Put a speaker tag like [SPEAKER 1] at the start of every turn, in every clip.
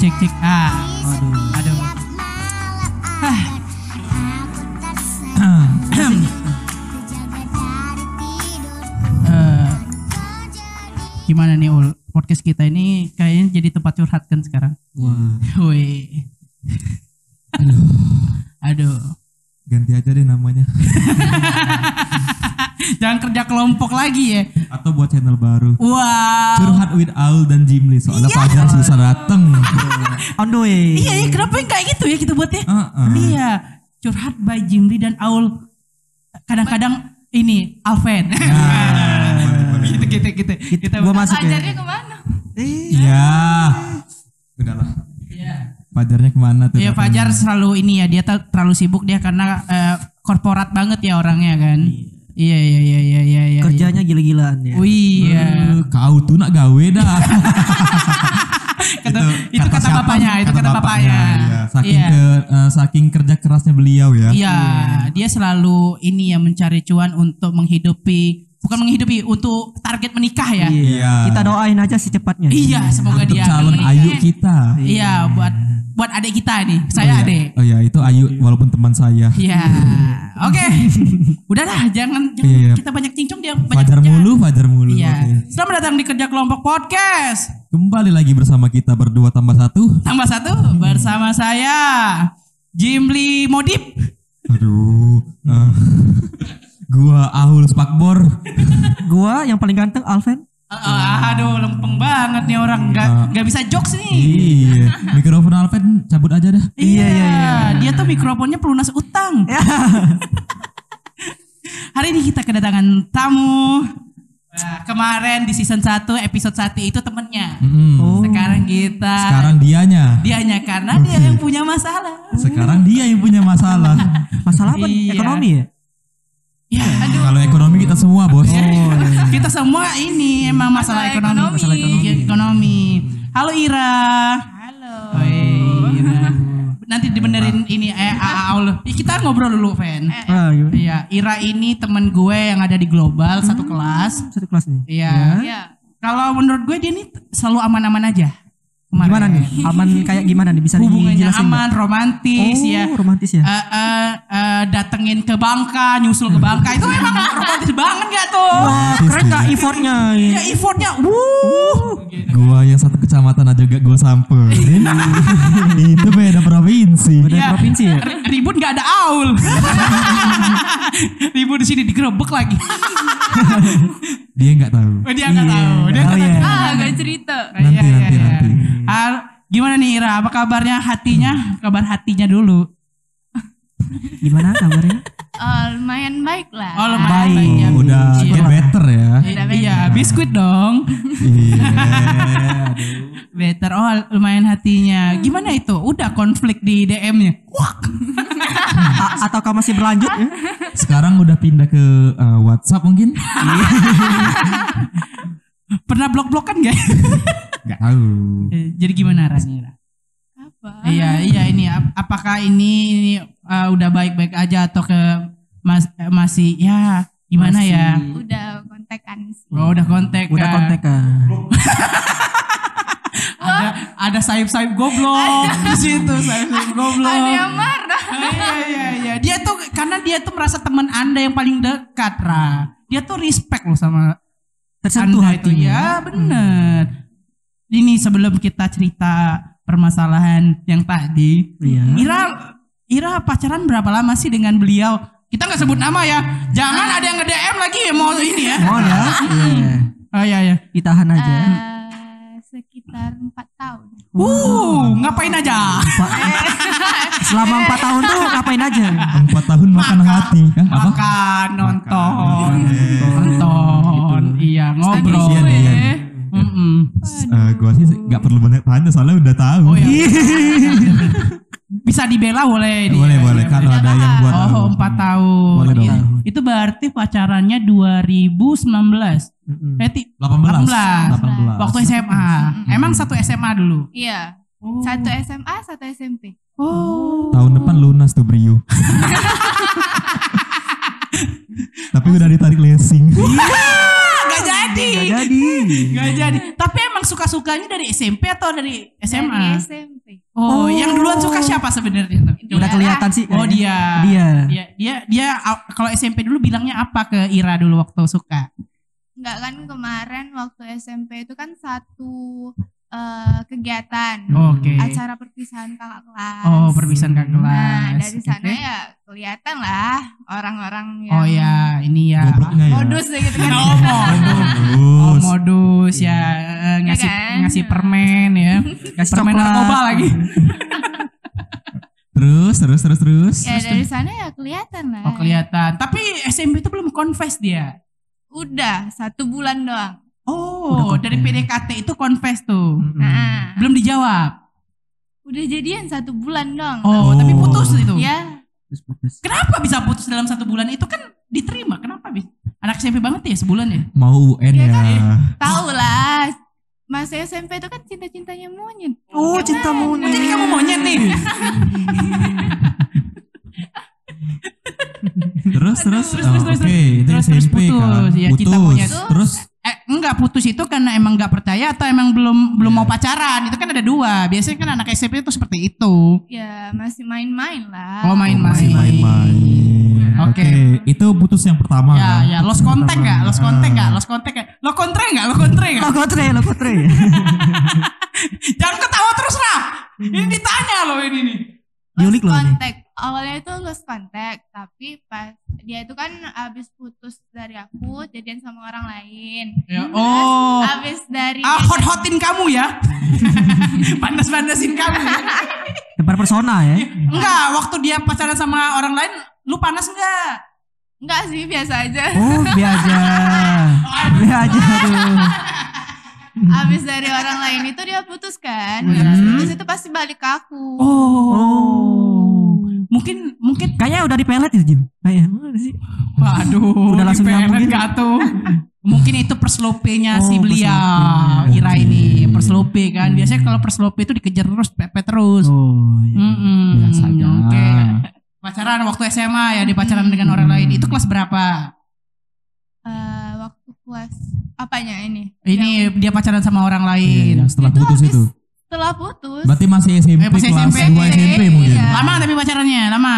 [SPEAKER 1] titik A. Waduh.
[SPEAKER 2] Ah, Aduh.
[SPEAKER 1] Hah.
[SPEAKER 2] Eh, Gimana nih Ul? Podcast kita ini kayaknya jadi tempat curhat kan sekarang.
[SPEAKER 3] Wah,
[SPEAKER 2] Woi. Aduh. Aduh.
[SPEAKER 3] ganti aja deh namanya.
[SPEAKER 2] Jangan kerja kelompok lagi ya.
[SPEAKER 3] Atau buat channel baru.
[SPEAKER 2] Wah.
[SPEAKER 3] Curhat with Aul dan Jimli soalnya Fajar susah dateng.
[SPEAKER 1] On the way. Ah.
[SPEAKER 2] Iya, iya, kenapa yang kayak gitu ya kita buatnya?
[SPEAKER 3] Heeh.
[SPEAKER 2] Iya, curhat by Jimli dan Aul. Kadang-kadang ini Alven.
[SPEAKER 3] Ya.
[SPEAKER 2] gitu gitu gitu. Kita
[SPEAKER 1] Nah. Gua masuk ya.
[SPEAKER 4] Fajarnya kemana?
[SPEAKER 1] Eh,
[SPEAKER 3] Iya. Udahlah.
[SPEAKER 2] Iya.
[SPEAKER 3] Fajarnya kemana tuh?
[SPEAKER 2] Iya,
[SPEAKER 3] katanya?
[SPEAKER 2] Fajar selalu ini ya, dia ter- terlalu sibuk dia karena eh, korporat banget ya orangnya kan. Iya iya iya iya iya iya.
[SPEAKER 1] Kerjanya gila-gilaan ya.
[SPEAKER 2] Wih, iya.
[SPEAKER 3] Eh, Kau tuh nak gawe dah.
[SPEAKER 2] Kata, itu, kata,
[SPEAKER 3] siapa?
[SPEAKER 2] bapaknya, itu kata, bapaknya.
[SPEAKER 3] iya. Saking
[SPEAKER 2] Iya.
[SPEAKER 3] ke- eh, saking kerja kerasnya beliau ya.
[SPEAKER 2] Iya, dia selalu ini ya mencari cuan untuk menghidupi, bukan menghidupi, untuk target menikah ya. Iya,
[SPEAKER 3] Iya.
[SPEAKER 1] Kita doain aja secepatnya.
[SPEAKER 2] semoga
[SPEAKER 3] Untuk
[SPEAKER 2] dia akan
[SPEAKER 3] calon
[SPEAKER 2] menikah.
[SPEAKER 3] ayu kita.
[SPEAKER 2] Iya, buat buat adik kita nih, saya adik.
[SPEAKER 3] Oh ya itu ayu walaupun teman saya.
[SPEAKER 2] Iya, oke. Udah lah, jangan, jangan
[SPEAKER 3] Iya, iya.
[SPEAKER 2] kita banyak cincong dia banyak
[SPEAKER 3] Fajar
[SPEAKER 2] kerja.
[SPEAKER 3] mulu, Fajar mulu.
[SPEAKER 2] Iya.
[SPEAKER 3] Oke.
[SPEAKER 2] Selamat datang di kerja kelompok podcast.
[SPEAKER 3] Kembali lagi bersama kita berdua tambah satu.
[SPEAKER 2] Tambah satu bersama saya Jimli Modip.
[SPEAKER 3] Aduh. eh, gua Ahul Spakbor.
[SPEAKER 1] Gua yang paling ganteng Alven.
[SPEAKER 2] Eh, eh, aduh, lempeng banget nih orang nggak nggak bisa jokes nih.
[SPEAKER 3] iya. Mikrofon Alpen cabut aja dah.
[SPEAKER 2] Iya, Dia tuh mikrofonnya pelunas utang. Hari ini kita kedatangan tamu. Nah, kemarin di season 1 episode 1 itu temennya.
[SPEAKER 3] Mm-mm.
[SPEAKER 1] Oh.
[SPEAKER 2] Sekarang kita
[SPEAKER 3] Sekarang dianya.
[SPEAKER 2] dia hanya karena dia yang punya masalah.
[SPEAKER 3] Sekarang dia yang punya masalah.
[SPEAKER 1] Masalah apa?
[SPEAKER 2] Iya.
[SPEAKER 1] Ekonomi ya?
[SPEAKER 2] Ya, aduh.
[SPEAKER 3] Kalau ekonomi kita semua, Bos.
[SPEAKER 2] Kita semua ini emang masalah,
[SPEAKER 4] Masalah
[SPEAKER 2] ekonomi.
[SPEAKER 4] ekonomi.
[SPEAKER 2] Masalah ekonomi. ekonomi. Halo Ira.
[SPEAKER 4] Halo.
[SPEAKER 2] Woi, Ira. Nanti dibenerin ini eh ah, Allah. Ih, Kita ngobrol dulu, Fen.
[SPEAKER 1] Ah, gimana?
[SPEAKER 2] Iya, Ira ini temen gue yang ada di global satu kelas.
[SPEAKER 1] Satu kelas nih.
[SPEAKER 2] Iya.
[SPEAKER 4] Ya.
[SPEAKER 2] Kalau menurut gue dia nih selalu aman-aman aja. Kemarin.
[SPEAKER 1] Gimana Iya, nih? Aman kayak gimana nih? Bisa
[SPEAKER 2] Hubungannya
[SPEAKER 1] dijelasin nggak?
[SPEAKER 2] aman, romantis
[SPEAKER 1] Oh,
[SPEAKER 2] ya.
[SPEAKER 1] romantis ya.
[SPEAKER 2] Eh, eh, eh, datengin ke Bangka, nyusul ke Bangka itu emang romantis banget gak tuh?
[SPEAKER 1] Wah, keren gak effortnya?
[SPEAKER 2] Ya effortnya, wuh.
[SPEAKER 3] Gua yang satu kecamatan aja gak gua samperin. Itu
[SPEAKER 2] Iya.
[SPEAKER 3] beda provinsi.
[SPEAKER 1] Beda provinsi ya?
[SPEAKER 2] ri- Ribut nggak ada aul. ribut di sini digerebek lagi.
[SPEAKER 3] Dia nggak tahu.
[SPEAKER 2] Oh, dia nggak tahu. Dia nggak
[SPEAKER 1] tahu ya.
[SPEAKER 2] tahu.
[SPEAKER 4] Ah, gak cerita.
[SPEAKER 3] Nanti,
[SPEAKER 2] Iya, iya,
[SPEAKER 3] nanti,
[SPEAKER 2] iya.
[SPEAKER 3] nanti.
[SPEAKER 2] Hal- gimana nih Ira? Apa kabarnya hatinya? Kabar hatinya dulu.
[SPEAKER 1] Gimana kabarnya?
[SPEAKER 4] Oh, lumayan baik lah.
[SPEAKER 2] Oh, lumayan
[SPEAKER 1] Baik.
[SPEAKER 2] baiknya.
[SPEAKER 3] Oh, udah
[SPEAKER 2] Iya.
[SPEAKER 3] get better ya.
[SPEAKER 2] Iya, biskuit dong.
[SPEAKER 3] Iya. aduh.
[SPEAKER 2] Better. Oh, lumayan hatinya. Gimana itu? Udah konflik di DM-nya. Wah,
[SPEAKER 1] A- ataukah masih berlanjut ya?
[SPEAKER 3] Sekarang udah pindah ke eh, WhatsApp mungkin?
[SPEAKER 2] Iya. pernah blok-blokan gak?
[SPEAKER 3] Gak tahu.
[SPEAKER 2] Eh, Jadi gimana rasanya? Ira?
[SPEAKER 4] Apa?
[SPEAKER 2] Iya, iya ini ap- apakah ini, ini, uh, udah baik-baik aja atau ke mas- eh, masih ya gimana ya?
[SPEAKER 4] Udah kontekan sih.
[SPEAKER 2] Oh, udah kontak.
[SPEAKER 1] Udah
[SPEAKER 2] Kak.
[SPEAKER 1] kontak kan?
[SPEAKER 2] Ada ada sayap-sayap goblok di situ, sayap-sayap goblok.
[SPEAKER 4] Ada yang marah.
[SPEAKER 2] Iya, iya, iya. Dia tuh karena dia tuh merasa teman Anda yang paling dekat, Ra. Dia tuh respect loh sama
[SPEAKER 1] Tersentuh
[SPEAKER 2] Anda itu.
[SPEAKER 1] hatinya.
[SPEAKER 2] Ya, bener. Ini sebelum kita cerita permasalahan yang tadi.
[SPEAKER 1] Iya.
[SPEAKER 2] Ira Ira pacaran berapa lama sih dengan beliau? Kita nggak sebut nama ya. Jangan ada yang nge-DM lagi ya, mau ini ya.
[SPEAKER 1] Mohon ya. Iya.
[SPEAKER 2] Oh iya iya.
[SPEAKER 1] Ditahan aja.
[SPEAKER 4] Eh, sekitar 4 tahun.
[SPEAKER 2] Wuh, Uh, ngapain aja?
[SPEAKER 1] Pak- Selama empat tahun tuh ngapain aja?
[SPEAKER 3] Empat tahun makan hati. Hah, apa?
[SPEAKER 2] Makan, nonton,
[SPEAKER 3] Makan.
[SPEAKER 2] nonton, iya ngobrol.
[SPEAKER 3] Kasian, iya.
[SPEAKER 2] Mm-mm.
[SPEAKER 3] Eh, gua sih nggak perlu banyak tanya soalnya udah tahu.
[SPEAKER 2] Oh, iya. Bisa dibela boleh ya. dia.
[SPEAKER 3] Boleh boleh kalau ada yang buat tahu.
[SPEAKER 2] iya, Oh, 4 tahun.
[SPEAKER 3] Boleh dong.
[SPEAKER 2] Iya. Itu berarti pacarannya 2019.
[SPEAKER 3] Hmm.
[SPEAKER 1] Mm-mm.
[SPEAKER 2] Eh, ti-
[SPEAKER 3] 18.
[SPEAKER 4] 18.
[SPEAKER 3] 18.
[SPEAKER 2] waktu SMA. Hmm. Emang satu SMA dulu. Ah,
[SPEAKER 4] Iya. Satu SMA, satu SMP.
[SPEAKER 2] Oh.
[SPEAKER 3] Tahun depan lunas tuh Brio. Tapi udah ditarik leasing.
[SPEAKER 2] Iya, Gak jadi.
[SPEAKER 1] Nggak jadi.
[SPEAKER 2] Gak jadi. Tapi emang suka-sukanya dari SMP atau dari SMA?
[SPEAKER 4] Dari SMP.
[SPEAKER 2] Oh,
[SPEAKER 1] Oh.
[SPEAKER 2] yang duluan suka siapa sebenarnya? tuh?
[SPEAKER 1] Udah kelihatan sih.
[SPEAKER 2] Oh
[SPEAKER 1] kayaknya.
[SPEAKER 2] dia.
[SPEAKER 1] Dia.
[SPEAKER 2] Dia dia, dia aw- kalau SMP dulu bilangnya apa ke Ira dulu waktu suka?
[SPEAKER 4] Enggak kan kemarin waktu SMP itu kan satu eh, kegiatan
[SPEAKER 2] Oke.
[SPEAKER 4] acara perpisahan kakak kelas.
[SPEAKER 2] Oh, perpisahan kakak
[SPEAKER 4] Nah,
[SPEAKER 2] kelas.
[SPEAKER 4] dari sana
[SPEAKER 2] Oke.
[SPEAKER 4] ya kelihatan lah orang-orang yang
[SPEAKER 2] Oh ya, ini ya.
[SPEAKER 3] Goblok nggak ya?
[SPEAKER 4] modus gitu kan.
[SPEAKER 2] Oh, modus. Oh,
[SPEAKER 3] Terus
[SPEAKER 2] modus ya eh, ngasih
[SPEAKER 4] Ya kan?
[SPEAKER 2] ngasih permen ya.
[SPEAKER 1] Kasih
[SPEAKER 2] permen
[SPEAKER 1] coklat.
[SPEAKER 2] narkoba lagi.
[SPEAKER 3] terus terus terus terus.
[SPEAKER 4] ya
[SPEAKER 2] Iya,
[SPEAKER 4] dari sana ya kelihatan lah.
[SPEAKER 2] Oh, kelihatan. Tapi SMP itu belum confess dia.
[SPEAKER 4] Udah satu bulan doang.
[SPEAKER 2] Oh,
[SPEAKER 3] Udah
[SPEAKER 2] dari
[SPEAKER 3] confess.
[SPEAKER 2] PDKT itu confess tuh.
[SPEAKER 3] Mm-mm.
[SPEAKER 4] Nah,
[SPEAKER 2] Belum dijawab.
[SPEAKER 4] udah jadian satu bulan doang.
[SPEAKER 2] Oh,
[SPEAKER 3] Oh.
[SPEAKER 2] tapi putus itu.
[SPEAKER 4] Ya,
[SPEAKER 1] Terus putus.
[SPEAKER 2] Kenapa bisa putus dalam satu bulan itu kan diterima? Kenapa bisa? Anak SMP banget ya sebulan ya?
[SPEAKER 3] Mau UN
[SPEAKER 4] Iya
[SPEAKER 3] ya.
[SPEAKER 4] kan? tau lah. Masa SMP itu kan cinta-cintanya monyet. Ya kan?
[SPEAKER 1] Oh, cinta monyet.
[SPEAKER 2] Iya. Jadi kamu monyet nih.
[SPEAKER 3] Terus terus.
[SPEAKER 2] Terus,
[SPEAKER 3] Oh,
[SPEAKER 2] terus, terus,
[SPEAKER 3] Oke, itu
[SPEAKER 2] terus, terus
[SPEAKER 3] SMP kan.
[SPEAKER 2] putus. Ya, cinta monyet.
[SPEAKER 3] Putus. Terus
[SPEAKER 2] Eh, enggak putus itu karena emang enggak percaya atau emang belum belum mau pacaran. Itu kan ada dua. Biasanya kan anak SMP itu seperti itu.
[SPEAKER 4] Ya, masih main-main lah.
[SPEAKER 2] Oh,
[SPEAKER 3] masih
[SPEAKER 2] main-main.
[SPEAKER 3] main-main.
[SPEAKER 2] Oke.
[SPEAKER 3] Oke, itu putus yang pertama
[SPEAKER 2] Ya,
[SPEAKER 3] kan?
[SPEAKER 2] ya, lost contact enggak? Lost contact
[SPEAKER 3] Ah.
[SPEAKER 2] enggak? Lost contact enggak? Lo kontre enggak? Lo kontre
[SPEAKER 1] Lo
[SPEAKER 2] enggak?
[SPEAKER 1] kotre, lo kotre.
[SPEAKER 2] Jangan ketawa terus, Ra. Ini
[SPEAKER 1] Hmm.
[SPEAKER 2] ditanya lo ini nih.
[SPEAKER 4] Lost
[SPEAKER 1] Nyulik loh ini.
[SPEAKER 4] contact. Awalnya itu lost contact, tapi pas dia itu kan abis putus dari aku, jadian sama orang lain.
[SPEAKER 2] Ya,
[SPEAKER 4] Terus
[SPEAKER 2] oh.
[SPEAKER 4] Abis dari
[SPEAKER 2] Ah, hot-hotin kamu ya. Panas-panasin kamu. ya.
[SPEAKER 1] Tebar persona ya.
[SPEAKER 2] Enggak, waktu dia pacaran sama orang lain, lu panas enggak?
[SPEAKER 4] enggak sih biasa aja.
[SPEAKER 1] Oh, biasa. Biasa tuh.
[SPEAKER 4] Abis dari orang lain itu dia putus kan.
[SPEAKER 2] Hmm.
[SPEAKER 4] Habis putus itu pasti balik ke aku.
[SPEAKER 2] Oh.
[SPEAKER 1] Oh.
[SPEAKER 2] Mungkin mungkin
[SPEAKER 1] Kayaknya udah di pelet itu, Jim. Kayaknya. Mana sih?
[SPEAKER 2] Waduh,
[SPEAKER 1] Udah langsung
[SPEAKER 2] di
[SPEAKER 1] nyambung
[SPEAKER 2] parent
[SPEAKER 1] gitu.
[SPEAKER 2] nggak tuh? Mungkin itu perslopenya
[SPEAKER 1] Oh,
[SPEAKER 2] si beliau,
[SPEAKER 1] perslopenya. iya,
[SPEAKER 2] Ira ini perslope kan. Biasanya kalau perslope itu dikejar terus, pepet terus.
[SPEAKER 1] Oh, iya.
[SPEAKER 2] Mm-mm.
[SPEAKER 3] Biasanya.
[SPEAKER 2] Oke. Pacaran waktu SMA ya, di pacaran dengan orang lain. Itu kelas berapa?
[SPEAKER 4] Eh, waktu kelas apanya ini?
[SPEAKER 2] Ini dia pacaran sama orang
[SPEAKER 3] Iya,
[SPEAKER 2] lain.
[SPEAKER 3] yang setelah
[SPEAKER 4] Itu
[SPEAKER 3] putus
[SPEAKER 4] habis-
[SPEAKER 3] itu.
[SPEAKER 4] Setelah putus.
[SPEAKER 3] Berarti masih SMP
[SPEAKER 2] Eh, masih
[SPEAKER 3] kelas
[SPEAKER 2] SMP.
[SPEAKER 3] 2 SMP mungkin.
[SPEAKER 4] Iya.
[SPEAKER 2] Lama tapi pacarannya, lama.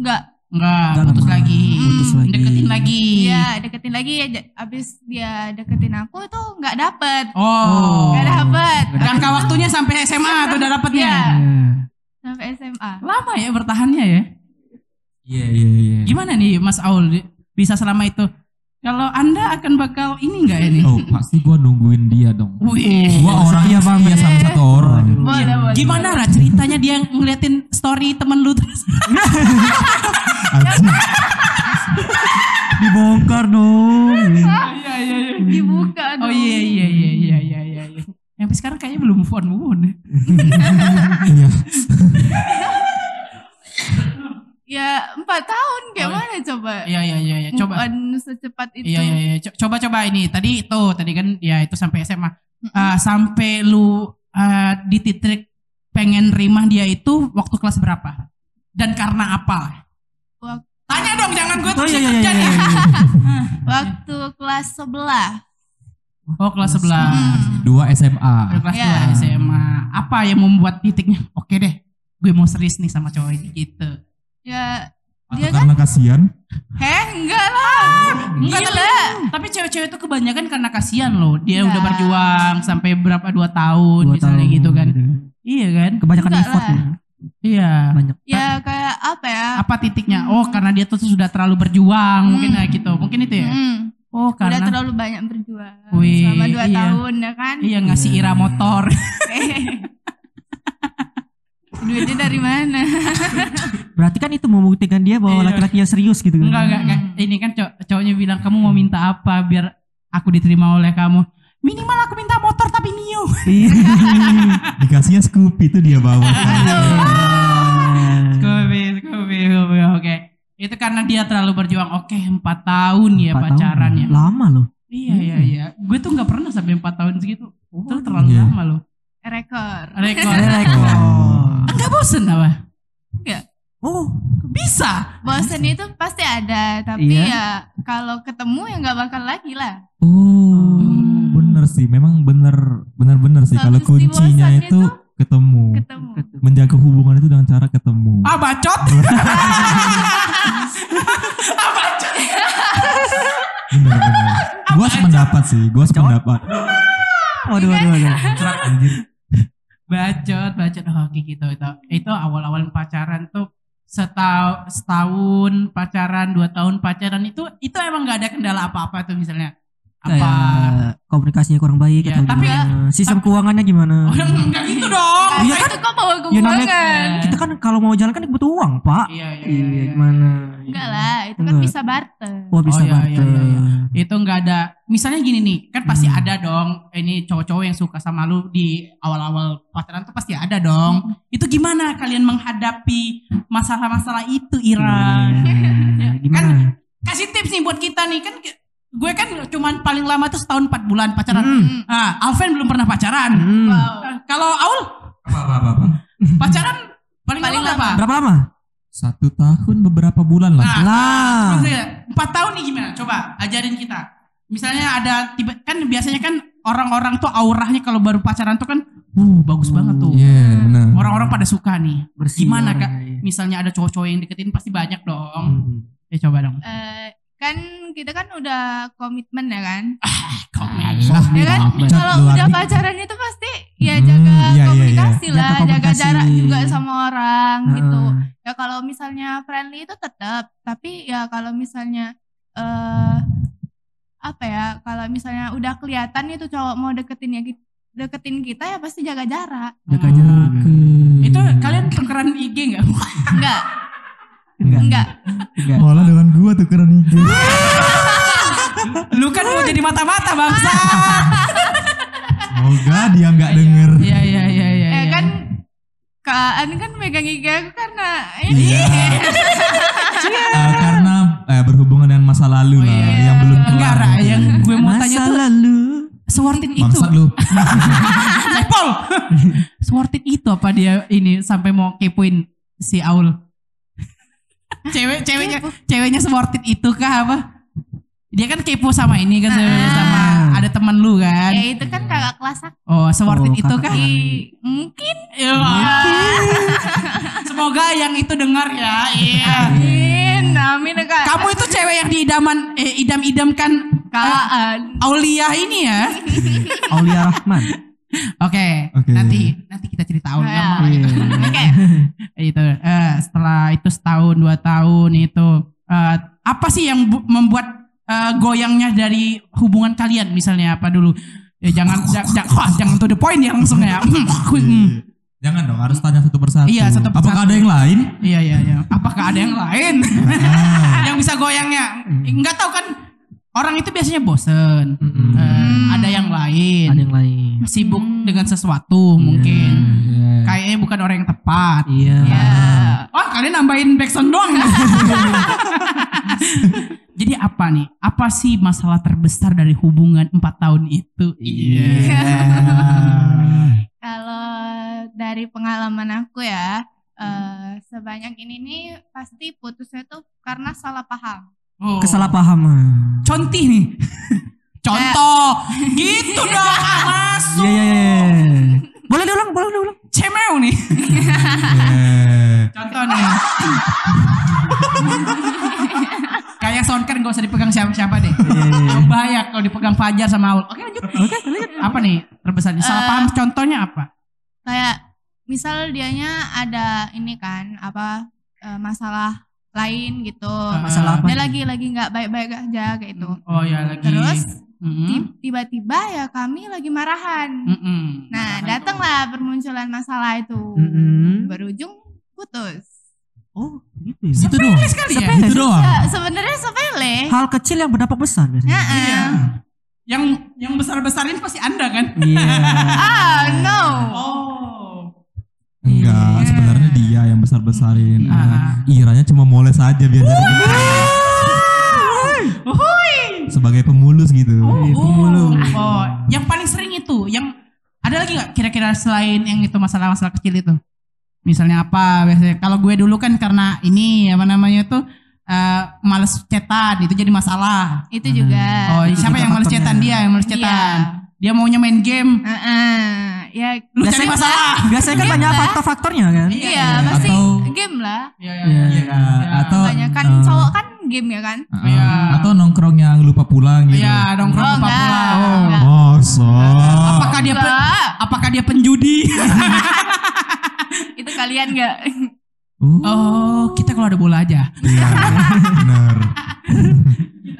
[SPEAKER 4] enggak.
[SPEAKER 2] Enggak,
[SPEAKER 1] Enggak
[SPEAKER 2] putus
[SPEAKER 1] lama.
[SPEAKER 2] lagi.
[SPEAKER 1] Putus
[SPEAKER 2] Mm,
[SPEAKER 1] lagi.
[SPEAKER 2] Deketin lagi.
[SPEAKER 4] Iya, deketin lagi ya. Ja- Abis dia deketin aku itu nggak dapet.
[SPEAKER 2] Oh.
[SPEAKER 4] Nggak dapet.
[SPEAKER 2] Jangka waktunya sampai SMA tuh udah dapetnya.
[SPEAKER 4] Iya.
[SPEAKER 1] Iya.
[SPEAKER 4] Sampai SMA.
[SPEAKER 2] Lama ya bertahannya ya.
[SPEAKER 3] Iya, iya, iya.
[SPEAKER 2] Gimana nih Mas Aul di- bisa selama itu? Kalau Anda akan bakal ini enggak ini?
[SPEAKER 3] Oh, pasti gua nungguin dia dong.
[SPEAKER 2] Wih.
[SPEAKER 3] Gua orang
[SPEAKER 2] iya,
[SPEAKER 1] Setia
[SPEAKER 3] yang
[SPEAKER 1] banget.
[SPEAKER 3] setia sama satu orang.
[SPEAKER 4] Boleh, boleh.
[SPEAKER 2] Gimana lah ceritanya dia ngeliatin story temen lu terus?
[SPEAKER 3] Anjing.
[SPEAKER 1] Dibongkar dong.
[SPEAKER 2] Iya iya iya.
[SPEAKER 4] Dibuka dong.
[SPEAKER 2] Oh iya iya iya iya iya iya. iya. Sampai sekarang kayaknya belum move on move on.
[SPEAKER 3] Iya.
[SPEAKER 4] Ya empat tahun gimana
[SPEAKER 2] Oh,
[SPEAKER 4] coba?
[SPEAKER 2] Iya iya iya iya.
[SPEAKER 4] Move
[SPEAKER 2] Coba.
[SPEAKER 4] on secepat itu.
[SPEAKER 2] Iya iya iya. Co- Coba coba ini tadi itu tadi kan ya itu sampai SMA. Eh, sampai lu eh, di titik pengen rimah dia itu waktu kelas berapa? Dan karena apa?
[SPEAKER 4] Wak-
[SPEAKER 2] Tanya dong jangan gue
[SPEAKER 1] Oh
[SPEAKER 2] terus
[SPEAKER 1] iya iya
[SPEAKER 2] ikut
[SPEAKER 1] iya.
[SPEAKER 2] jadi.
[SPEAKER 1] iya, iya.
[SPEAKER 4] Waktu kelas sebelah.
[SPEAKER 2] Oh kelas 11.
[SPEAKER 4] Hmm.
[SPEAKER 3] Dua SMA.
[SPEAKER 2] Udah kelas
[SPEAKER 4] Iya.
[SPEAKER 2] 2 SMA. Apa yang membuat titiknya? Oke deh, gue mau serius nih sama cowok ini gitu.
[SPEAKER 4] Ya
[SPEAKER 3] Atau
[SPEAKER 2] Iya
[SPEAKER 4] dia kan
[SPEAKER 3] karena kasihan?
[SPEAKER 4] heh enggak lah.
[SPEAKER 2] Enggak,
[SPEAKER 4] Gila.
[SPEAKER 2] Tapi cewek-cewek itu kebanyakan karena kasihan loh. Dia
[SPEAKER 4] Iya.
[SPEAKER 2] udah berjuang sampai berapa dua tahun
[SPEAKER 1] Dua
[SPEAKER 2] misalnya
[SPEAKER 1] tahun,
[SPEAKER 2] gitu kan. Iya kan?
[SPEAKER 1] Kebanyakan
[SPEAKER 4] Enggak
[SPEAKER 1] effort
[SPEAKER 4] lah.
[SPEAKER 1] ya.
[SPEAKER 2] Iya.
[SPEAKER 1] Banyak.
[SPEAKER 4] Ya kayak apa ya?
[SPEAKER 2] Apa titiknya? Oh, karena dia tuh sudah terlalu berjuang mungkin
[SPEAKER 4] Hmm.
[SPEAKER 2] ya gitu. Mungkin itu ya.
[SPEAKER 4] Hmm.
[SPEAKER 2] Oh,
[SPEAKER 4] Udah
[SPEAKER 2] karena
[SPEAKER 4] terlalu banyak berjuang
[SPEAKER 2] Wih,
[SPEAKER 4] selama dua
[SPEAKER 2] iya.
[SPEAKER 4] tahun ya kan.
[SPEAKER 2] iya ngasih Ira motor.
[SPEAKER 4] Duitnya dari mana?
[SPEAKER 1] Berarti kan itu membuktikan dia bahwa
[SPEAKER 2] Iya.
[SPEAKER 1] laki-lakinya serius gitu kan.
[SPEAKER 2] Enggak, enggak, enggak.
[SPEAKER 4] Hmm.
[SPEAKER 2] Ini kan cow- cowoknya bilang kamu mau minta apa biar aku diterima oleh kamu. Minimal aku minta motor tapi Mio.
[SPEAKER 1] Iya.
[SPEAKER 3] Dikasihnya Scoopy itu dia bawa.
[SPEAKER 2] Scooby, Scooby, Scooby, Oke. Itu karena dia terlalu berjuang. Oke, empat tahun ya
[SPEAKER 1] Empat tahun.
[SPEAKER 2] pacarannya.
[SPEAKER 1] Lama loh.
[SPEAKER 2] Iya, iya, iya. Gue tuh nggak pernah sampai empat tahun segitu.
[SPEAKER 1] Oh.
[SPEAKER 2] Itu terlalu
[SPEAKER 3] Iya.
[SPEAKER 2] lama loh.
[SPEAKER 4] Rekor.
[SPEAKER 2] Rekor.
[SPEAKER 1] Rekor.
[SPEAKER 2] Enggak bosen apa?
[SPEAKER 1] Oh,
[SPEAKER 2] Bisa.
[SPEAKER 4] Bosen itu pasti ada, tapi
[SPEAKER 1] Iya.
[SPEAKER 4] ya kalau ketemu ya nggak bakal lagi lah.
[SPEAKER 3] Oh, bener sih. Memang bener, bener-bener sih. Kalau
[SPEAKER 4] Satu si
[SPEAKER 3] kuncinya
[SPEAKER 4] bosannya
[SPEAKER 3] itu
[SPEAKER 4] tuh-
[SPEAKER 3] ketemu
[SPEAKER 4] ketemu
[SPEAKER 3] menjaga hubungan itu dengan cara ketemu
[SPEAKER 2] Ah bacot. ah bacot.
[SPEAKER 3] bener bener gue sependapat sih gue sependapat
[SPEAKER 2] Iya
[SPEAKER 1] Waduh,
[SPEAKER 2] kan?
[SPEAKER 1] waduh, waduh.
[SPEAKER 3] Cerak, anjir
[SPEAKER 2] Bacot, bacot. Oh, kayak gitu itu. Itu awal-awal pacaran tuh setau, setahun pacaran, dua tahun pacaran itu itu emang nggak ada kendala apa-apa tuh misalnya. Apa?
[SPEAKER 1] Kayak komunikasinya kurang baik
[SPEAKER 2] Ya,
[SPEAKER 1] atau
[SPEAKER 2] tapi-
[SPEAKER 1] gimana. Sistem keuangannya gimana?
[SPEAKER 2] Orang nggak gitu dong.
[SPEAKER 4] Nah,
[SPEAKER 1] Iya
[SPEAKER 4] itu kok bawa gue
[SPEAKER 1] Ya, namanya-
[SPEAKER 4] banget
[SPEAKER 1] Kita kan kalau mau jalan kan butuh uang, Pak.
[SPEAKER 2] Iya, iya, iya,
[SPEAKER 1] Iya,
[SPEAKER 2] iya.
[SPEAKER 1] gimana?
[SPEAKER 4] enggak lah itu kan
[SPEAKER 1] Enggak.
[SPEAKER 4] bisa barter
[SPEAKER 1] Wah, bisa
[SPEAKER 2] Oh, iya,
[SPEAKER 1] barter.
[SPEAKER 2] iya, iya, Itu nggak ada. Misalnya gini nih, kan pasti
[SPEAKER 1] Hmm.
[SPEAKER 2] ada dong. Ini cowok-cowok yang suka sama lu di awal-awal pacaran tuh pasti ada dong.
[SPEAKER 1] Hmm.
[SPEAKER 2] Itu gimana kalian menghadapi masalah-masalah itu, Ira?
[SPEAKER 1] Iya, Gimana?
[SPEAKER 2] Kan kasih tips nih buat kita nih kan ke- gue kan cuman paling lama tuh setahun empat bulan pacaran.
[SPEAKER 1] Hmm.
[SPEAKER 4] Hmm.
[SPEAKER 2] Ah, Alven belum pernah pacaran.
[SPEAKER 1] Hmm.
[SPEAKER 4] wow
[SPEAKER 2] Eh, Kalau Aul
[SPEAKER 3] apa apa apa, apa.
[SPEAKER 2] pacaran paling,
[SPEAKER 4] Paling
[SPEAKER 2] lama berapa?
[SPEAKER 1] Berapa lama?
[SPEAKER 3] satu tahun beberapa bulan lah
[SPEAKER 1] Lah.
[SPEAKER 2] Nah, Terus ya, Empat tahun nih gimana? Coba ajarin kita. Misalnya ada tiba kan biasanya kan orang-orang tuh auranya kalau baru pacaran tuh kan, uh bagus banget tuh.
[SPEAKER 3] iya bener
[SPEAKER 2] Orang-orang pada suka nih.
[SPEAKER 1] Bersih
[SPEAKER 2] Gimana,
[SPEAKER 1] orangnya,
[SPEAKER 2] Kak?
[SPEAKER 1] iya.
[SPEAKER 2] Misalnya ada cowok-cowok yang deketin pasti banyak dong.
[SPEAKER 1] Hmm.
[SPEAKER 2] Ya coba dong.
[SPEAKER 4] Eh, kan kita kan udah komitmen ya kan
[SPEAKER 2] Komen.
[SPEAKER 3] Lah,
[SPEAKER 4] ya kan
[SPEAKER 3] Bapak.
[SPEAKER 4] kalau
[SPEAKER 3] Nah, Luar
[SPEAKER 4] udah
[SPEAKER 3] nih.
[SPEAKER 4] pacaran itu pasti ya
[SPEAKER 3] Hmm,
[SPEAKER 4] jaga
[SPEAKER 3] iya, iya, iya.
[SPEAKER 4] komunikasi
[SPEAKER 1] Jaga
[SPEAKER 4] lah jaga
[SPEAKER 1] komunikasi.
[SPEAKER 4] jarak juga sama orang
[SPEAKER 3] Hmm.
[SPEAKER 4] gitu
[SPEAKER 1] Ah.
[SPEAKER 4] ya kalau misalnya friendly itu tetap tapi ya kalau misalnya eh apa ya kalau misalnya udah kelihatan itu cowok mau deketin ya ki- deketin kita ya pasti jaga jarak
[SPEAKER 1] Jaga jarak.
[SPEAKER 2] Itu
[SPEAKER 3] kan-
[SPEAKER 2] kalian tukeran IG nggak?
[SPEAKER 4] enggak
[SPEAKER 3] Iya.
[SPEAKER 1] Enggak.
[SPEAKER 4] enggak
[SPEAKER 1] Enggak.
[SPEAKER 3] malah dengan gua tuh keren IG
[SPEAKER 2] Lu kan mau jadi mata-mata bangsa.
[SPEAKER 3] semoga dia nggak denger
[SPEAKER 2] Iya iya iya iya.
[SPEAKER 4] eh
[SPEAKER 2] iya.
[SPEAKER 4] kan Kak Ani kan megang IG aku karena ini
[SPEAKER 3] Iya. Eh, karena eh, berhubungan dengan masa
[SPEAKER 2] Oh,
[SPEAKER 3] lalu lah
[SPEAKER 2] iya.
[SPEAKER 3] yang belum
[SPEAKER 2] enggak Ra, yang gue mau
[SPEAKER 1] Masa
[SPEAKER 2] tanya tuh
[SPEAKER 1] lalu.
[SPEAKER 2] worth it itu.
[SPEAKER 3] Bangsat lu.
[SPEAKER 2] Cepol. worth it itu apa dia ini sampai mau kepoin si Aul. Cewek ceweknya ceweknya worth it itu kah apa? Dia kan kepo sama ini kan sama-
[SPEAKER 4] Ah.
[SPEAKER 2] sama ada teman lu
[SPEAKER 4] ya
[SPEAKER 2] kan.
[SPEAKER 4] itu kan kakak kelas aku
[SPEAKER 2] Oh, worth it
[SPEAKER 1] Oh,
[SPEAKER 2] itu kah?
[SPEAKER 1] kakak.
[SPEAKER 4] mungkin
[SPEAKER 2] Iya. Semoga yang itu dengar ya. Iya.
[SPEAKER 4] amin amin kak
[SPEAKER 2] Kamu itu cewek yang diidaman eh idam-idamkan
[SPEAKER 4] Kak An.
[SPEAKER 2] Aulia ini ya.
[SPEAKER 1] Aulia Rahman.
[SPEAKER 2] Oke,
[SPEAKER 3] Oke.
[SPEAKER 2] nanti nanti kita cerita Aulia.
[SPEAKER 4] Ya.
[SPEAKER 2] makanya.
[SPEAKER 4] oke
[SPEAKER 2] itu eh, setelah itu setahun dua tahun itu eh, apa sih yang bu- membuat eh, goyangnya dari hubungan kalian misalnya apa dulu ya jangan ja- ja- wah, jangan to the point ya langsung ya Hmm.
[SPEAKER 3] Jangan dong, harus tanya satu persatu.
[SPEAKER 2] Iya, satu persatu.
[SPEAKER 3] Apakah ada yang lain?
[SPEAKER 2] iya iya iya apakah ada yang lain
[SPEAKER 3] Ah.
[SPEAKER 2] yang bisa goyangnya nggak tahu kan orang itu biasanya bosen
[SPEAKER 1] Mm-mm.
[SPEAKER 2] Eh, ada yang lain
[SPEAKER 1] Ada yang lain.
[SPEAKER 2] sibuk dengan sesuatu mungkin
[SPEAKER 3] Iya.
[SPEAKER 2] kayaknya bukan orang yang tepat
[SPEAKER 1] Iya.
[SPEAKER 4] ya
[SPEAKER 2] Oh kalian nambahin backsound doang. Jadi apa nih? Apa sih masalah terbesar dari hubungan 4 tahun itu?
[SPEAKER 3] Iya.
[SPEAKER 4] Kalau dari pengalaman aku ya, eh,
[SPEAKER 2] Hmm.
[SPEAKER 4] sebanyak ini nih pasti putusnya tuh karena salah paham.
[SPEAKER 2] Oh.
[SPEAKER 1] Kesalahpahaman.
[SPEAKER 2] Contoh nih. Contoh. gitu dong. ah, Masuk.
[SPEAKER 1] Iya, iya, iya. Boleh diulang, boleh diulang.
[SPEAKER 2] Cemeo nih.
[SPEAKER 3] Iya.
[SPEAKER 2] Contoh nih. Kayak soundcard gak usah dipegang siapa-siapa deh. Bahaya kalau dipegang Fajar sama Aul. Oke lanjut. Oke lanjut. Apa nih terbesarnya? Salah
[SPEAKER 4] Eh.
[SPEAKER 2] paham contohnya apa?
[SPEAKER 4] Kayak misal dianya ada ini kan apa eh, masalah lain gitu.
[SPEAKER 2] Ah,
[SPEAKER 1] Masalah apa?
[SPEAKER 4] Dia lagi lagi nggak baik-baik aja kayak itu.
[SPEAKER 2] Oh ya lagi. hmm?
[SPEAKER 4] Terus
[SPEAKER 2] Mm-mm.
[SPEAKER 4] ti- tiba-tiba ya kami lagi marahan.
[SPEAKER 2] Mm-mm. Hmm, Marahan
[SPEAKER 4] Nah,
[SPEAKER 2] tuh. Hmm,
[SPEAKER 4] datanglah bermunculan masalah itu.
[SPEAKER 1] Mm-mm.
[SPEAKER 4] Berujung putus.
[SPEAKER 1] Oh, gitu ya.
[SPEAKER 3] Itu doang.
[SPEAKER 2] sekali ya.
[SPEAKER 3] Itu doang.
[SPEAKER 4] Ya, sebenarnya sepele.
[SPEAKER 1] Hal kecil yang berdampak besar biasanya.
[SPEAKER 4] Nah, eh.
[SPEAKER 2] Iya. Yang yang besar-besarin pasti Anda kan?
[SPEAKER 1] Iya.
[SPEAKER 4] Ah, no.
[SPEAKER 2] Oh.
[SPEAKER 3] Enggak,
[SPEAKER 4] Iya.
[SPEAKER 3] sebenarnya dia yang besar-besarin.
[SPEAKER 2] Iya.
[SPEAKER 3] Ah, Iranya cuma moles aja biar jadi sebagai pemulus gitu.
[SPEAKER 2] Oh,
[SPEAKER 1] Iya, pemulung.
[SPEAKER 2] Oh, yang paling sering itu, yang ada lagi nggak kira-kira selain yang itu masalah-masalah kecil itu? Misalnya apa biasanya? Kalau gue dulu kan karena ini apa namanya tuh eh, males cetan itu jadi masalah.
[SPEAKER 4] Itu juga.
[SPEAKER 2] oh,
[SPEAKER 1] itu
[SPEAKER 2] siapa
[SPEAKER 1] juga
[SPEAKER 2] yang males
[SPEAKER 1] faktornya.
[SPEAKER 4] Ah.
[SPEAKER 2] cetan dia yang males cetan. Dia maunya main game.
[SPEAKER 4] Heeh, ya
[SPEAKER 2] Lu cari
[SPEAKER 1] Biasanya-
[SPEAKER 2] masalah.
[SPEAKER 1] Biasanya kan
[SPEAKER 4] Iya,
[SPEAKER 1] banyak
[SPEAKER 4] Mbak.
[SPEAKER 1] faktor-faktornya kan.
[SPEAKER 2] Iya,
[SPEAKER 4] iya,
[SPEAKER 2] iya.
[SPEAKER 4] pasti
[SPEAKER 3] Atau-
[SPEAKER 4] game lah
[SPEAKER 2] Iya,
[SPEAKER 3] Iya, atau
[SPEAKER 4] banyak kan
[SPEAKER 3] eh,
[SPEAKER 4] cowok kan game ya kan
[SPEAKER 3] eh,
[SPEAKER 2] Iya.
[SPEAKER 3] atau nongkrong yang lupa pulang gitu.
[SPEAKER 2] Iya, nongkrong
[SPEAKER 4] Oh,
[SPEAKER 2] lupa
[SPEAKER 4] enggak.
[SPEAKER 2] pulang.
[SPEAKER 4] Enggak.
[SPEAKER 3] Masa.
[SPEAKER 2] Apakah dia pe-
[SPEAKER 4] Enggak.
[SPEAKER 2] apakah dia penjudi?
[SPEAKER 4] itu kalian nggak
[SPEAKER 3] Uh,
[SPEAKER 2] oh, kita kalau ada bola aja.
[SPEAKER 3] Iya, benar.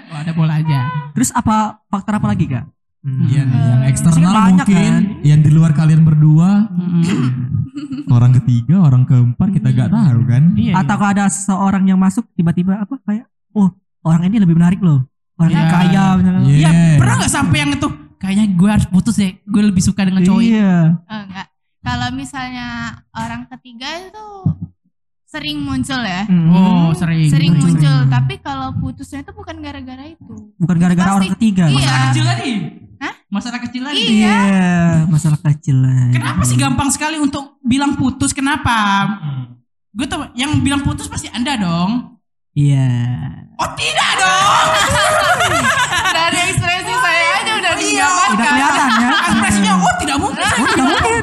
[SPEAKER 2] Kalau ada bola aja.
[SPEAKER 1] Terus apa faktor apa lagi kak? Hmm.
[SPEAKER 2] Eh,
[SPEAKER 3] Iya, nih, yang eksternal
[SPEAKER 1] Banyak,
[SPEAKER 3] mungkin,
[SPEAKER 1] kan?
[SPEAKER 3] yang di luar kalian
[SPEAKER 2] Hmm.
[SPEAKER 3] berdua,
[SPEAKER 2] Mm-mm.
[SPEAKER 3] orang ketiga, orang keempat kita gak tahu kan.
[SPEAKER 2] Iya.
[SPEAKER 1] Atau kalau ada seorang yang masuk tiba-tiba apa kayak, oh orang ini lebih menarik loh. Orang ini
[SPEAKER 2] Iya.
[SPEAKER 1] kaya. misalnya.
[SPEAKER 3] Iya.
[SPEAKER 2] Iya, pernah nggak sampai yang itu? Kayaknya gue harus putus deh. Gue lebih suka dengan cowok ini.
[SPEAKER 1] Iya.
[SPEAKER 4] Oh, enggak. Kalau misalnya orang ketiga itu sering muncul ya.
[SPEAKER 1] Mm.
[SPEAKER 2] Oh, sering.
[SPEAKER 4] Sering
[SPEAKER 1] Sering.
[SPEAKER 4] muncul, tapi kalau putusnya itu bukan gara-gara itu.
[SPEAKER 1] Bukan gara-gara
[SPEAKER 4] Pasti.
[SPEAKER 1] orang ketiga.
[SPEAKER 4] Iya.
[SPEAKER 2] Masalah kecil tadi.
[SPEAKER 4] Hah?
[SPEAKER 2] Masalah kecil tadi.
[SPEAKER 4] Iya.
[SPEAKER 1] Masalah kecil lah.
[SPEAKER 2] Kenapa sih gampang sekali untuk bilang putus? Kenapa? Gue tau yang bilang putus pasti Anda dong.
[SPEAKER 1] Iya.
[SPEAKER 2] Oh, tidak dong.
[SPEAKER 4] Dari ekspresi saya aja Iya. udah
[SPEAKER 2] iya.
[SPEAKER 1] Udah kelihatan ya.
[SPEAKER 2] Ekspresinya oh tidak mungkin.
[SPEAKER 1] Oh, tidak mungkin.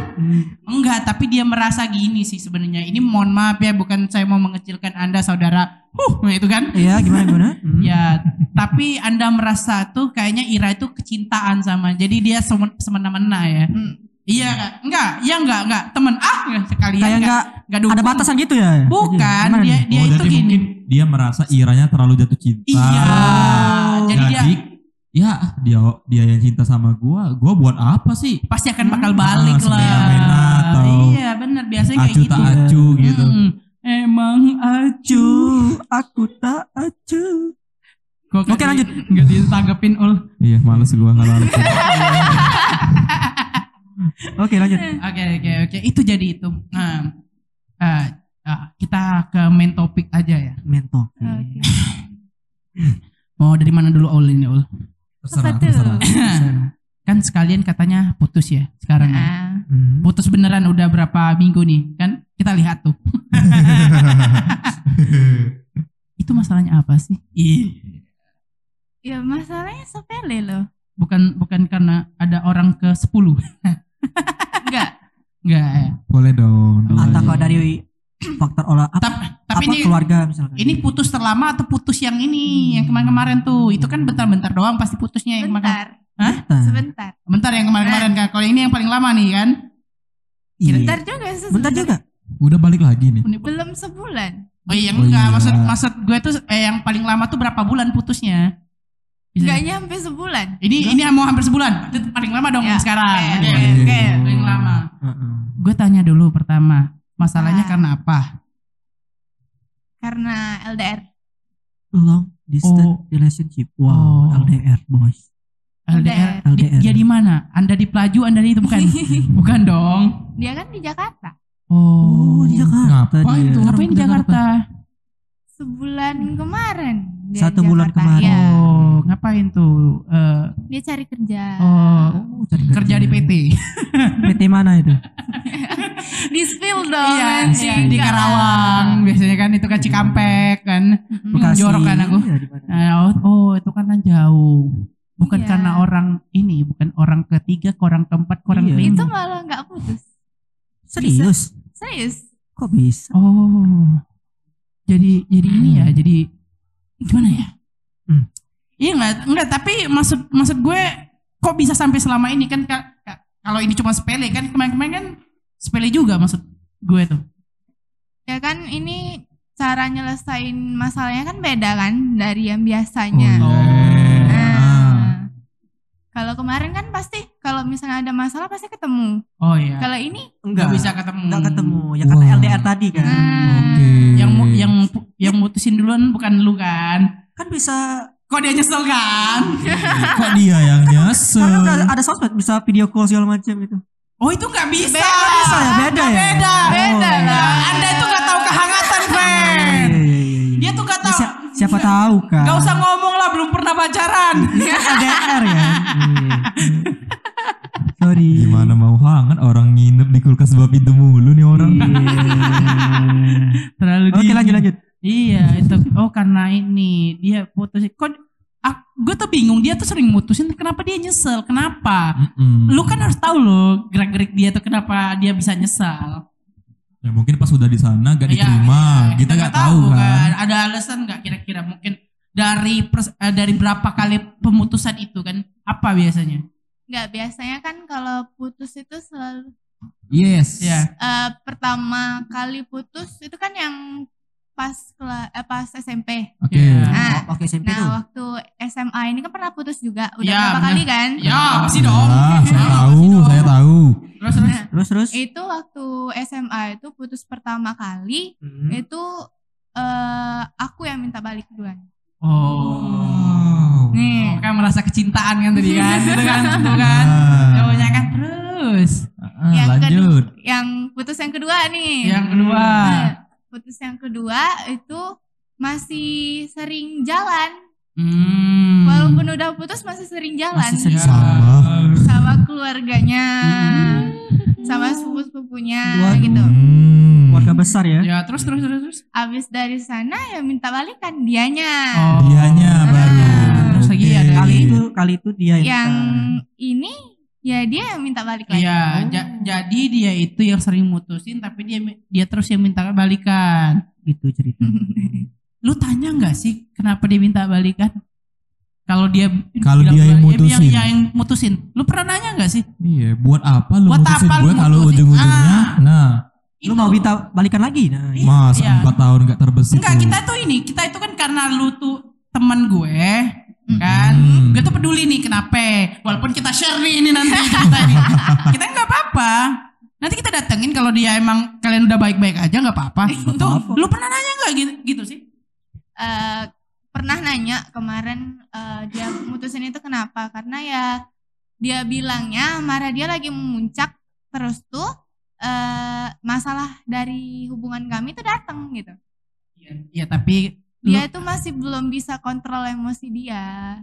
[SPEAKER 2] Enggak, tapi dia merasa gini sih sebenarnya. Ini mohon maaf ya, bukan saya mau mengecilkan Anda saudara. Huh, nah itu kan.
[SPEAKER 1] Iya, gimana gimana? Hmm.
[SPEAKER 2] Ya, tapi Anda merasa tuh kayaknya Ira itu kecintaan sama. Jadi dia semen- semena-mena ya.
[SPEAKER 1] Hmm.
[SPEAKER 2] Iya enggak? Enggak, iya enggak, enggak. Temen ah enggak, sekalian
[SPEAKER 1] Kayak
[SPEAKER 2] enggak.
[SPEAKER 1] nggak
[SPEAKER 2] Enggak
[SPEAKER 1] ada
[SPEAKER 2] dukung.
[SPEAKER 1] batasan gitu ya?
[SPEAKER 2] Bukan,
[SPEAKER 1] Gimana
[SPEAKER 2] dia
[SPEAKER 1] nih?
[SPEAKER 2] dia
[SPEAKER 3] Oh,
[SPEAKER 2] itu
[SPEAKER 3] jadi
[SPEAKER 2] gini.
[SPEAKER 3] mungkin dia merasa iranya terlalu jatuh cinta.
[SPEAKER 2] Iya. Jadi dia
[SPEAKER 3] ya dia dia yang cinta sama gua, gua buat apa sih?
[SPEAKER 2] pasti akan bakal balik
[SPEAKER 3] Ah,
[SPEAKER 2] lah.
[SPEAKER 3] semena-mena atau
[SPEAKER 2] Iya, benar biasanya kayak
[SPEAKER 3] Acu
[SPEAKER 2] gitu.
[SPEAKER 3] tak acu gitu.
[SPEAKER 2] Mm, Emang acu.
[SPEAKER 1] Acuh, aku tak acuh.
[SPEAKER 2] Gua nggak
[SPEAKER 1] Oke,
[SPEAKER 2] di-
[SPEAKER 1] lanjut.
[SPEAKER 2] nggak ditanggepin ul.
[SPEAKER 3] Iya, males gua kalau harus.
[SPEAKER 1] Oke lanjut.
[SPEAKER 2] Oke oke oke itu jadi itu. Nah, eh, eh, kita ke main topik aja ya.
[SPEAKER 1] Mentok.
[SPEAKER 4] Oke.
[SPEAKER 2] Mau dari mana dulu Ul ini Ul?
[SPEAKER 3] terserah,
[SPEAKER 4] Apa tuh?
[SPEAKER 3] terserah.
[SPEAKER 2] kan sekalian katanya putus ya sekarang. ya.
[SPEAKER 4] Nah,
[SPEAKER 1] Hmm.
[SPEAKER 2] Putus beneran udah berapa minggu nih kan? Kita lihat tuh. Itu masalahnya apa sih? Ih,
[SPEAKER 4] ya masalahnya sepele loh.
[SPEAKER 2] bukan bukan karena ada orang ke 10
[SPEAKER 4] Enggak.
[SPEAKER 2] Enggak ya.
[SPEAKER 3] Boleh dong. dong.
[SPEAKER 1] Atau kalau dari faktor olah apa,
[SPEAKER 2] Tapi, tapi
[SPEAKER 1] apa
[SPEAKER 2] ini
[SPEAKER 1] keluarga misalkan?
[SPEAKER 2] ini putus terlama atau putus yang ini yang kemarin-kemarin tuh itu kan bentar-bentar doang pasti putusnya yang kemarin-
[SPEAKER 4] Bentar,
[SPEAKER 1] Nah,
[SPEAKER 4] sebentar.
[SPEAKER 2] bentar yang kemarin-kemarin kan kalau ini yang paling lama nih kan
[SPEAKER 1] iya.
[SPEAKER 4] Bentar juga sebentar.
[SPEAKER 1] Bentar juga.
[SPEAKER 3] Udah balik lagi nih.
[SPEAKER 4] Belum sebulan.
[SPEAKER 2] Oh iya
[SPEAKER 3] Oh
[SPEAKER 2] enggak,
[SPEAKER 3] iya.
[SPEAKER 2] maksud maksud gue tuh eh, yang paling lama tuh berapa bulan putusnya? Bisa-
[SPEAKER 4] Enggak nyampe sebulan.
[SPEAKER 2] Ini ini mau hampir sebulan. Itu paling lama dong
[SPEAKER 4] Ya,
[SPEAKER 2] sekarang. Iya.
[SPEAKER 4] Oke,
[SPEAKER 2] Oke.
[SPEAKER 4] oke, oke.
[SPEAKER 2] Paling lama.
[SPEAKER 1] Heeh.
[SPEAKER 2] Gue tanya dulu pertama, masalahnya
[SPEAKER 4] Ah.
[SPEAKER 2] karena apa?
[SPEAKER 4] Karena LDR.
[SPEAKER 1] Long distance
[SPEAKER 2] Oh.
[SPEAKER 1] relationship.
[SPEAKER 2] Oh.
[SPEAKER 1] Wow, LDR boys.
[SPEAKER 2] LDR.
[SPEAKER 1] LDR.
[SPEAKER 2] Di- Dia di mana? Anda di Pelaju, Anda di itu bukan? bukan dong.
[SPEAKER 4] Dia kan di Jakarta.
[SPEAKER 2] Oh,
[SPEAKER 1] Oh, Iya. di Jakarta
[SPEAKER 3] Ngapain
[SPEAKER 1] dia.
[SPEAKER 3] tuh?
[SPEAKER 2] Ngapain di Jakarta?
[SPEAKER 4] Sebulan kemarin. dia
[SPEAKER 1] Satu
[SPEAKER 4] di
[SPEAKER 1] bulan
[SPEAKER 4] Jakarta.
[SPEAKER 1] kemarin.
[SPEAKER 4] Iya.
[SPEAKER 2] Oh, ngapain tuh? Eh,
[SPEAKER 4] Dia cari kerja.
[SPEAKER 2] oh,
[SPEAKER 1] Oh, cari
[SPEAKER 2] kerja di PT.
[SPEAKER 1] PT mana itu?
[SPEAKER 2] Hmm,
[SPEAKER 4] Di spill dong.
[SPEAKER 2] Iya,
[SPEAKER 4] nanti.
[SPEAKER 2] sih, di Karawang biasanya kan itu kan Cikampek kan.
[SPEAKER 4] Mm-mm.
[SPEAKER 1] Bekasi.
[SPEAKER 2] jorok kan aku.
[SPEAKER 1] Iya, di mana?
[SPEAKER 2] Eh, Oh, oh, itu karena jauh. Bukan
[SPEAKER 4] Iya.
[SPEAKER 2] karena orang ini, bukan orang ketiga, ke orang keempat, ke orang
[SPEAKER 1] Iya.
[SPEAKER 2] kelima.
[SPEAKER 4] Itu malah nggak putus.
[SPEAKER 1] Serius?
[SPEAKER 4] Serius.
[SPEAKER 1] Kok bisa?
[SPEAKER 2] Oh, jadi jadi ini ya, jadi gimana ya?
[SPEAKER 1] Hmm.
[SPEAKER 2] Iya nggak nggak tapi maksud maksud gue kok bisa sampai selama ini kan Kak, Kak, kalau ini cuma sepele kan kemarin-kemarin kan sepele juga maksud gue tuh.
[SPEAKER 4] Ya kan ini cara nyelesain masalahnya kan beda kan dari
[SPEAKER 3] Oh,
[SPEAKER 4] yang
[SPEAKER 3] iya.
[SPEAKER 4] biasanya.
[SPEAKER 3] Ah.
[SPEAKER 4] Nah, Kalau kemarin kan pasti kalau misalnya ada masalah pasti ketemu.
[SPEAKER 2] Oh iya.
[SPEAKER 4] Kalau ini
[SPEAKER 2] Nggak bisa ketemu.
[SPEAKER 1] Enggak ketemu. Ya karena
[SPEAKER 3] Hmm. Wah.
[SPEAKER 1] LDR tadi kan.
[SPEAKER 2] Hmm.
[SPEAKER 4] nah,
[SPEAKER 3] Oke.
[SPEAKER 2] Yang
[SPEAKER 3] Hmm.
[SPEAKER 2] mu- yang pu- yang mutusin duluan bukan lu kan?
[SPEAKER 1] Kan bisa
[SPEAKER 2] Kok dia nyesel kan?
[SPEAKER 1] Iya.
[SPEAKER 3] kok dia yang nyesel?
[SPEAKER 1] Karena udah kan ada sosmed bisa video call segala macam gitu.
[SPEAKER 2] Oh itu nggak bisa.
[SPEAKER 4] Beda, bisa
[SPEAKER 1] ya, beda
[SPEAKER 2] Nggak
[SPEAKER 1] ya?
[SPEAKER 2] Beda.
[SPEAKER 4] Beda
[SPEAKER 3] Oh.
[SPEAKER 2] Nah,
[SPEAKER 4] lah.
[SPEAKER 2] Anda itu nggak tahu kehangatan,
[SPEAKER 1] Iya,
[SPEAKER 2] friend.
[SPEAKER 1] iya, iya, iya.
[SPEAKER 2] Dia tuh nggak
[SPEAKER 1] Ya,
[SPEAKER 2] tahu.
[SPEAKER 1] siapa, siapa tahu kan?
[SPEAKER 2] Gak usah ngomong lah, belum pernah pacaran.
[SPEAKER 1] Ini kan LDR ya. Iya. Sorry.
[SPEAKER 3] Gimana mau hangat orang nginep di kulkas bawah pintu mulu nih orang.
[SPEAKER 2] Terlalu
[SPEAKER 1] Oke
[SPEAKER 2] dingin.
[SPEAKER 1] lanjut lanjut.
[SPEAKER 2] Iya itu. Oh karena ini dia putus. Kok gue tuh bingung dia tuh sering mutusin kenapa dia nyesel
[SPEAKER 3] Hmm.
[SPEAKER 2] kenapa
[SPEAKER 3] Mm-mm.
[SPEAKER 2] lu kan harus tahu lo gerak-gerik dia tuh kenapa dia bisa nyesal
[SPEAKER 3] Ya, mungkin pas udah di sana gak
[SPEAKER 2] Iya,
[SPEAKER 3] diterima,
[SPEAKER 2] iya,
[SPEAKER 3] kita nggak tahu kan.
[SPEAKER 2] ada alasan nggak kira-kira mungkin dari pers- eh, dari berapa kali pemutusan itu kan apa biasanya
[SPEAKER 4] nggak biasanya kan kalau putus itu selalu
[SPEAKER 3] Yes.
[SPEAKER 2] ya
[SPEAKER 4] eh, pertama kali putus itu kan yang pas kela- eh, pas SMP.
[SPEAKER 3] Oke. Ah,
[SPEAKER 2] Iya.
[SPEAKER 4] Nah,
[SPEAKER 1] Oke SMP
[SPEAKER 4] nah
[SPEAKER 1] tuh.
[SPEAKER 4] waktu SMA ini kan pernah putus juga, udah
[SPEAKER 2] Ya,
[SPEAKER 4] berapa
[SPEAKER 2] bener.
[SPEAKER 4] kali kan?
[SPEAKER 2] ya pasti
[SPEAKER 3] Ya,
[SPEAKER 2] dong
[SPEAKER 3] saya
[SPEAKER 2] Ya,
[SPEAKER 3] tahu,
[SPEAKER 2] pasti dong.
[SPEAKER 3] saya tahu.
[SPEAKER 2] terus terus
[SPEAKER 4] Nah,
[SPEAKER 1] Terus terus.
[SPEAKER 4] itu waktu SMA itu putus pertama kali
[SPEAKER 1] Hmm.
[SPEAKER 4] itu eh aku yang minta balik duluan.
[SPEAKER 2] oh
[SPEAKER 4] Nih.
[SPEAKER 2] kan merasa kecintaan kan tadi kan itu kan itu kan
[SPEAKER 3] Ah.
[SPEAKER 2] cowoknya kan terus
[SPEAKER 3] Ah,
[SPEAKER 4] Yang
[SPEAKER 3] lanjut.
[SPEAKER 4] Yang putus yang kedua nih.
[SPEAKER 2] yang kedua
[SPEAKER 4] Nah, putus yang kedua itu masih sering jalan.
[SPEAKER 2] hmm.
[SPEAKER 4] Walaupun udah putus masih sering jalan.
[SPEAKER 1] Masih
[SPEAKER 2] Iya.
[SPEAKER 1] sering
[SPEAKER 3] Sama.
[SPEAKER 4] sama keluarganya,
[SPEAKER 2] Hmm.
[SPEAKER 4] sama sepupu-sepupunya
[SPEAKER 1] Waduh.
[SPEAKER 4] gitu.
[SPEAKER 3] Hmm.
[SPEAKER 1] Keluarga besar ya.
[SPEAKER 2] ya terus terus terus terus
[SPEAKER 4] Abis dari sana ya minta balikan dianya.
[SPEAKER 2] Oh. Nah,
[SPEAKER 3] Dianya baru.
[SPEAKER 2] Terus lagi
[SPEAKER 3] Oke.
[SPEAKER 2] ada
[SPEAKER 1] Kali itu kali itu dia
[SPEAKER 2] iya.
[SPEAKER 4] Yang
[SPEAKER 1] minta.
[SPEAKER 4] ini ya dia yang minta balik lagi.
[SPEAKER 2] Iya, ja- jadi dia itu yang sering mutusin tapi dia dia terus yang minta balikan.
[SPEAKER 1] gitu cerita.
[SPEAKER 2] Hmm. Lu tanya nggak sih kenapa dia minta balikan? Kalau dia
[SPEAKER 3] Kalau
[SPEAKER 2] bilang
[SPEAKER 3] dia yang
[SPEAKER 2] balik-
[SPEAKER 3] mutusin.
[SPEAKER 2] yang, yang mutusin. Lu pernah nanya nggak sih?
[SPEAKER 3] Iya, buat apa lu
[SPEAKER 2] Buat
[SPEAKER 3] mutusin
[SPEAKER 2] apa lu
[SPEAKER 3] gue kalau
[SPEAKER 2] mutusin?
[SPEAKER 3] ujung-ujungnya?
[SPEAKER 2] Ah.
[SPEAKER 3] Nah,
[SPEAKER 1] Lu mau
[SPEAKER 2] minta
[SPEAKER 1] minta balikan lagi? Nah,
[SPEAKER 2] Iya.
[SPEAKER 3] mas
[SPEAKER 2] Iya.
[SPEAKER 3] empat tahun gak terbesit.
[SPEAKER 2] Enggak,
[SPEAKER 3] lu.
[SPEAKER 2] kita tuh ini, kita itu kan karena lu tuh teman gue kan
[SPEAKER 3] Mm-mm.
[SPEAKER 2] gue tuh peduli nih kenapa walaupun kita share nih ini nanti cerita ini kita kan nggak apa-apa nanti kita datengin kalau dia emang kalian udah baik-baik aja nggak apa-apa tuh
[SPEAKER 1] apa-apa.
[SPEAKER 2] lu pernah nanya nggak gitu, gitu sih
[SPEAKER 4] Eh, pernah nanya kemarin eh, dia mutusin itu kenapa? Karena ya dia bilangnya marah dia lagi memuncak terus tuh eh masalah dari hubungan kami itu datang gitu.
[SPEAKER 2] Iya, iya, tapi
[SPEAKER 4] Dia itu masih belum bisa kontrol emosi dia.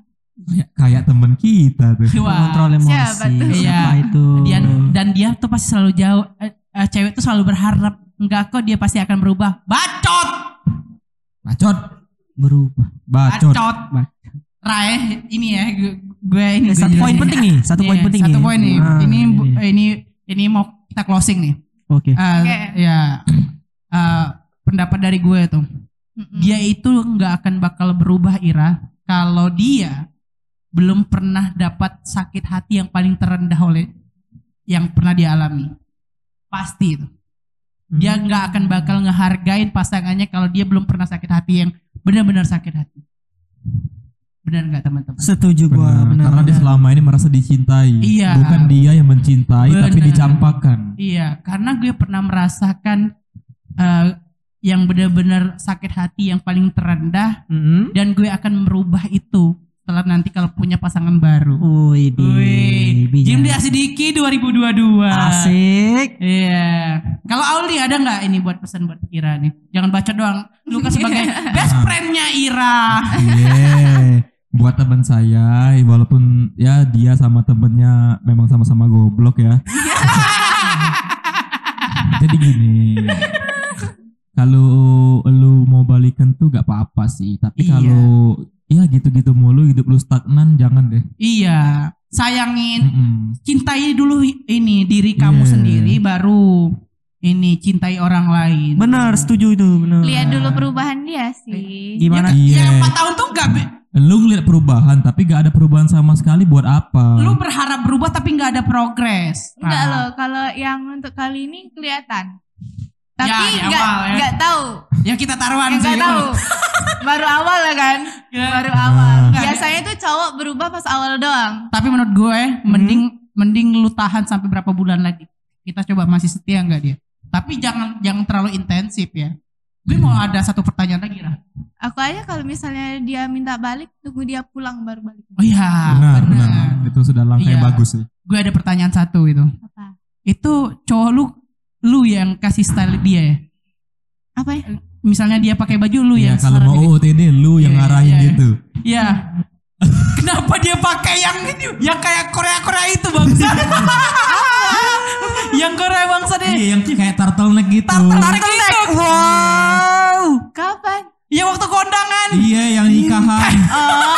[SPEAKER 3] Ya, kayak temen kita tuh.
[SPEAKER 2] Wah,
[SPEAKER 1] kontrol emosi.
[SPEAKER 4] Siapa tuh?
[SPEAKER 1] Siapa
[SPEAKER 2] Iya.
[SPEAKER 1] itu? eh,
[SPEAKER 2] dia dan dia tuh pasti selalu jauh eh, eh, cewek tuh selalu berharap enggak kok dia pasti akan berubah. Bacot,
[SPEAKER 3] Bacot,
[SPEAKER 1] berubah.
[SPEAKER 3] bacot.
[SPEAKER 2] bacot. Rae ini ya gue, gue ini gue
[SPEAKER 1] Iya, satu poin
[SPEAKER 2] jelasin.
[SPEAKER 1] penting nih, satu poin
[SPEAKER 2] Iya,
[SPEAKER 1] penting
[SPEAKER 2] Satu
[SPEAKER 1] nih.
[SPEAKER 2] poin nih.
[SPEAKER 1] Ah,
[SPEAKER 2] ini bu- eh,
[SPEAKER 1] ini.
[SPEAKER 2] ini ini mau kita closing nih.
[SPEAKER 1] Oke.
[SPEAKER 2] Eh,
[SPEAKER 4] Oke.
[SPEAKER 2] Ya eh, pendapat dari gue tuh.
[SPEAKER 4] Mm-mm.
[SPEAKER 2] Dia itu nggak akan bakal berubah Ira kalau dia belum pernah dapat sakit hati yang paling terendah oleh yang pernah dia alami. Pasti itu. Dia nggak akan bakal ngehargain pasangannya kalau dia belum pernah sakit hati yang benar-benar sakit hati. Benar nggak teman-teman?
[SPEAKER 1] Setuju
[SPEAKER 3] Benar,
[SPEAKER 1] gua benar.
[SPEAKER 3] karena dia selama ini merasa dicintai.
[SPEAKER 2] Iya.
[SPEAKER 3] Bukan dia yang mencintai tapi
[SPEAKER 2] Benar.
[SPEAKER 3] dicampakan.
[SPEAKER 2] Iya, karena gue pernah merasakan eh, yang benar-benar sakit hati yang paling terendah
[SPEAKER 1] Mm-mm.
[SPEAKER 2] dan gue akan merubah itu setelah nanti kalau punya pasangan baru.
[SPEAKER 1] Wih, di-
[SPEAKER 2] Wih,
[SPEAKER 1] bijak.
[SPEAKER 2] Jim dia Sidiki 2022.
[SPEAKER 1] Asik.
[SPEAKER 2] Iya. Kalau Auli ada nggak ini buat pesan buat Ira nih? Jangan baca doang. Lu kan sebagai best friendnya Ira.
[SPEAKER 3] Iya. Buat teman saya, walaupun ya dia sama temennya memang sama-sama goblok ya. Jadi gini. Kalau lu mau balikan tuh gak apa-apa sih, tapi
[SPEAKER 2] Iya.
[SPEAKER 3] kalau ya gitu-gitu mulu hidup lu stagnan jangan deh.
[SPEAKER 2] iya. Sayangin,
[SPEAKER 3] Mm-mm.
[SPEAKER 2] cintai dulu ini diri kamu
[SPEAKER 3] Iya.
[SPEAKER 2] sendiri baru ini cintai orang lain.
[SPEAKER 1] Benar, setuju itu, benar.
[SPEAKER 4] Lihat dulu
[SPEAKER 2] Hmm.
[SPEAKER 4] perubahan dia sih.
[SPEAKER 1] Gimana?
[SPEAKER 2] Ya
[SPEAKER 3] Iya.
[SPEAKER 2] 4 tahun tuh gak be-
[SPEAKER 3] Lu ngeliat perubahan tapi gak ada perubahan sama sekali buat apa?
[SPEAKER 2] lu berharap berubah tapi nggak ada progres.
[SPEAKER 4] Enggak
[SPEAKER 2] Ah.
[SPEAKER 4] loh, kalau yang untuk kali ini kelihatan. Tapi
[SPEAKER 2] Ya, di
[SPEAKER 4] enggak
[SPEAKER 2] awal ya.
[SPEAKER 4] enggak tahu.
[SPEAKER 2] Ya kita taruhan
[SPEAKER 4] Enggak
[SPEAKER 2] sih.
[SPEAKER 4] tahu. Baru awal lah kan?
[SPEAKER 2] Ya.
[SPEAKER 4] Baru awal.
[SPEAKER 3] Nah.
[SPEAKER 4] Biasanya tuh cowok berubah pas awal doang.
[SPEAKER 2] Tapi menurut gue
[SPEAKER 3] Hmm.
[SPEAKER 2] mending mending lu tahan sampai berapa bulan lagi. Kita coba masih setia nggak dia. Tapi jangan jangan terlalu intensif ya. Gue mau
[SPEAKER 3] Hmm.
[SPEAKER 2] ada satu pertanyaan lagi lah.
[SPEAKER 4] Aku aja kalau misalnya dia minta balik, tunggu dia pulang baru balik.
[SPEAKER 2] Oh iya,
[SPEAKER 3] benar, benar.
[SPEAKER 2] benar.
[SPEAKER 3] Itu sudah langkah yang
[SPEAKER 2] Iya.
[SPEAKER 3] bagus sih.
[SPEAKER 2] Gue ada pertanyaan satu itu.
[SPEAKER 4] Apa?
[SPEAKER 2] Itu cowok lu lu yang kasih style dia ya.
[SPEAKER 4] Apa ya?
[SPEAKER 2] Misalnya dia pakai baju lu
[SPEAKER 3] Iya,
[SPEAKER 2] yang
[SPEAKER 3] kalau
[SPEAKER 2] saran
[SPEAKER 3] mau
[SPEAKER 2] diri.
[SPEAKER 3] OOTD lu yang
[SPEAKER 2] Iya,
[SPEAKER 3] ngarahin
[SPEAKER 2] iya, iya.
[SPEAKER 3] gitu.
[SPEAKER 2] Iya. Kenapa dia pakai yang ini? Yang kayak Korea-Korea itu bangsa. yang Korea bangsa deh.
[SPEAKER 3] Iya yang kayak turtleneck gitu.
[SPEAKER 2] Tertarik itu.
[SPEAKER 1] Wow.
[SPEAKER 4] Kapan?
[SPEAKER 2] Ya waktu kondangan.
[SPEAKER 3] Iya yang nikahan.
[SPEAKER 2] Oh.